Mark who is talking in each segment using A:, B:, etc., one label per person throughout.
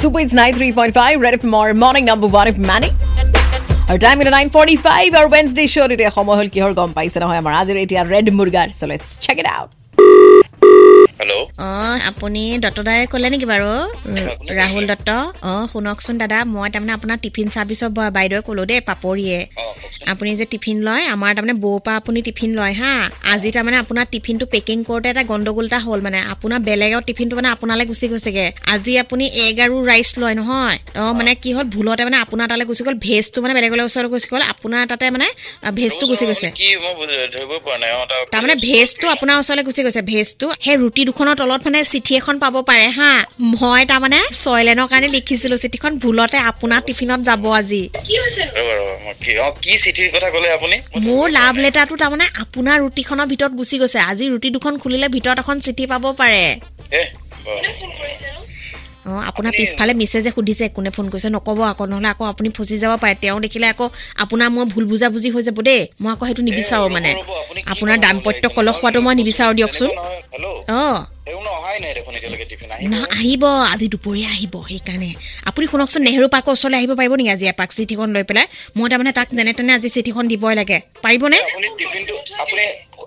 A: Super it's nine three point five red F মৰ morning number one F মানে আৰু time এতিয়া nine forty five আৰু Wednesday শ্ব'ত এতিয়া সময় হ'ল কিহৰ গম পাইছে নহয় আমাৰ আজিৰ এতিয়া ৰেড মুৰ্গাৰ show' let's check it out
B: hello'
C: অঁ আপুনি দত্তদাই ক'লে নেকি বাৰু
B: কোনে
C: ৰাহুল
B: কৈছে?
C: দত্ত অঁ শুনকচোন দাদা মই তাৰমানে আপোনাৰ টিফিন ছাৰ্ভিচৰ বা- বাইদেৱে ক'লোঁ দেই পাপৰিয়ে
B: অঁ, কওকচোন।
C: আপুনি যে টিফিন লয় আমাৰ তাৰমানে বৌৰ পৰা আপুনি টিফিন লয় হা আজি তাৰমানে আপোনাৰ টিফিনটো পেকিং কৰোঁতে এটা গণ্ডগোল এটা হ'ল মানে আপোনাৰ বেলেগৰ টিফিনটো মানে আপোনালৈ গুচি গৈছেগৈ আজি আপুনি এগ আৰু ৰাইচ লয় নহয় অঁ মানে কি হ'ল ভুলতে মানে আপোনাৰ তালৈ গুচি গ'ল ভেজটো মানে বেলেগলৈ ওচৰলৈ গুচি গ'ল আপোনাৰ তাতে মানে আ, ভেজটো গুচি গৈছে
B: কি মই বুজি- ধৰিব পৰা নাই অঁ, তাৰ-
C: তাৰমানে ভেজটো আপোনাৰ ওচৰলৈ গুচি গৈছে ভেজটো সেই ৰুটি দুখনৰ তলত মানে চিঠি এখন পাব পাৰে হা মই তাৰমানে ছয়লেনৰ কাৰণে লিখিছিলো চিঠিখন ভুলতে আপোনাৰ টিফিনত যাব আজি
B: ৰ'ব, ৰ'ব, মই কি অঁ, কি চিঠিৰ কথা ক'লে আপুনি মই
C: মোৰ লাভ লেটাৰটো তাৰমানে আপোনাৰ ৰুটিখনৰ ভিতৰত গুচি গৈছে আজি ৰুটি দুখন খুলিলে ভিতৰত এখন চিঠি পাব পাৰে
B: এহ, বা।
C: অঁ আপোনাৰ পিছফালে মেছেজে সুধিছে কোনে ফোন কৰিছে নক'ব আকৌ নহ'লে আকৌ আপুনি ফচি যাব পাৰে তেওঁ দেখিলে আকৌ আপোনাৰ মই ভুল বুজাবুজি হৈ যাব দেই মই আকৌ সেইটো নিবিচাৰোঁ
B: ৰ'ব,
C: মানে
B: ৰ'ব, আপুনি কি
C: আপোনাৰ
B: ক'ব
C: দাম্পত্য
B: বিচাৰিছে?
C: কলহ হোৱাটো মই
B: তেনেকুৱা
C: নিবিচাৰোঁ দিয়কচোন
B: নহয়, হেল্ল'
C: অঁ
B: তেওঁ মানে অহাই নাই দেখোন এতিয়ালৈকে টিফিন আহিব
C: নহয় আহিব আজি দুপৰীয়া আহিব সেইকাৰণে আপুনি শুনকচোন নেহেৰু পাৰ্কৰ ওচৰলৈ আহিব পাৰিব নেকি আজি এপাক চিঠিখন লৈ পেলাই মই তাৰমানে তাক যেনে তেনে আজি চিঠিখন দিবই লাগে পাৰিবনে
B: আপুনি টিফিনটো আপুনি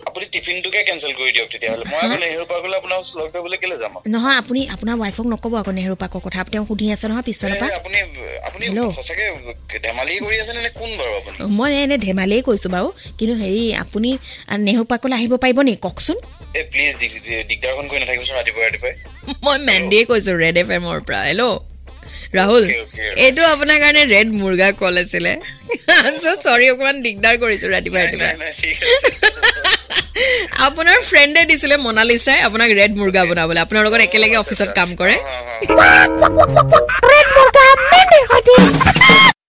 B: আপুনি টিফিনটোকে কেঞ্চেল কৰি দিয়ক তেতিয়াহ'লে মই আকৌ নেহেৰু পাৰ্কলৈ আপোনাৰ ওচৰত লগ কৰিবলৈ কেলৈ যাম আকৌ?
C: নহয় আপুনি আপোনাৰ ৱাইফক নক'ব আকৌ নেহেৰু পাৰ্কৰ কথা তেওঁ সুধি আছে নহয় পিছফালৰ পৰা
B: এ, আপুনি আপুনি
C: হেল্ল'।
B: সঁচাকে ধেমালি কৰি আছেনে নে কোন বাৰু আপুনি
C: মই এনে ধেমালিয়ে কৈছোঁ বাৰু কিন্তু হেৰি আপুনি আ, নেহেৰু পাৰ্কলৈ আহিব পাৰিব নেকি কওকচোন
B: এই প্লিজ দিগদাৰখন কৰি নাথাকিবচোন ৰাতিপুৱা ৰাতিপুৱাই
A: মই মেণ্ডিয়ে কৈছোঁ ৰেড এফ এমৰ পৰা hello' Rahul
B: Okay, okay, okay.
A: এইটো আপোনাৰ কাৰণে ৰেড মুৰ্গা কল আছিলে চৰি অকণমান দিগদাৰ কৰিছোঁ ৰাতিপুৱা
B: নাই,
A: ৰাতিপুৱা
B: নাই, নাই, ঠিক আছে
A: আপোনাৰ ফ্ৰেণ্ডে দিছিলে e, মনালিচাই আপোনাক ৰেড মুৰ্গা বনাবলৈ আপোনাৰ লগত একেলগে অফিচত কাম কৰে
B: অঁ, অঁ, অঁ।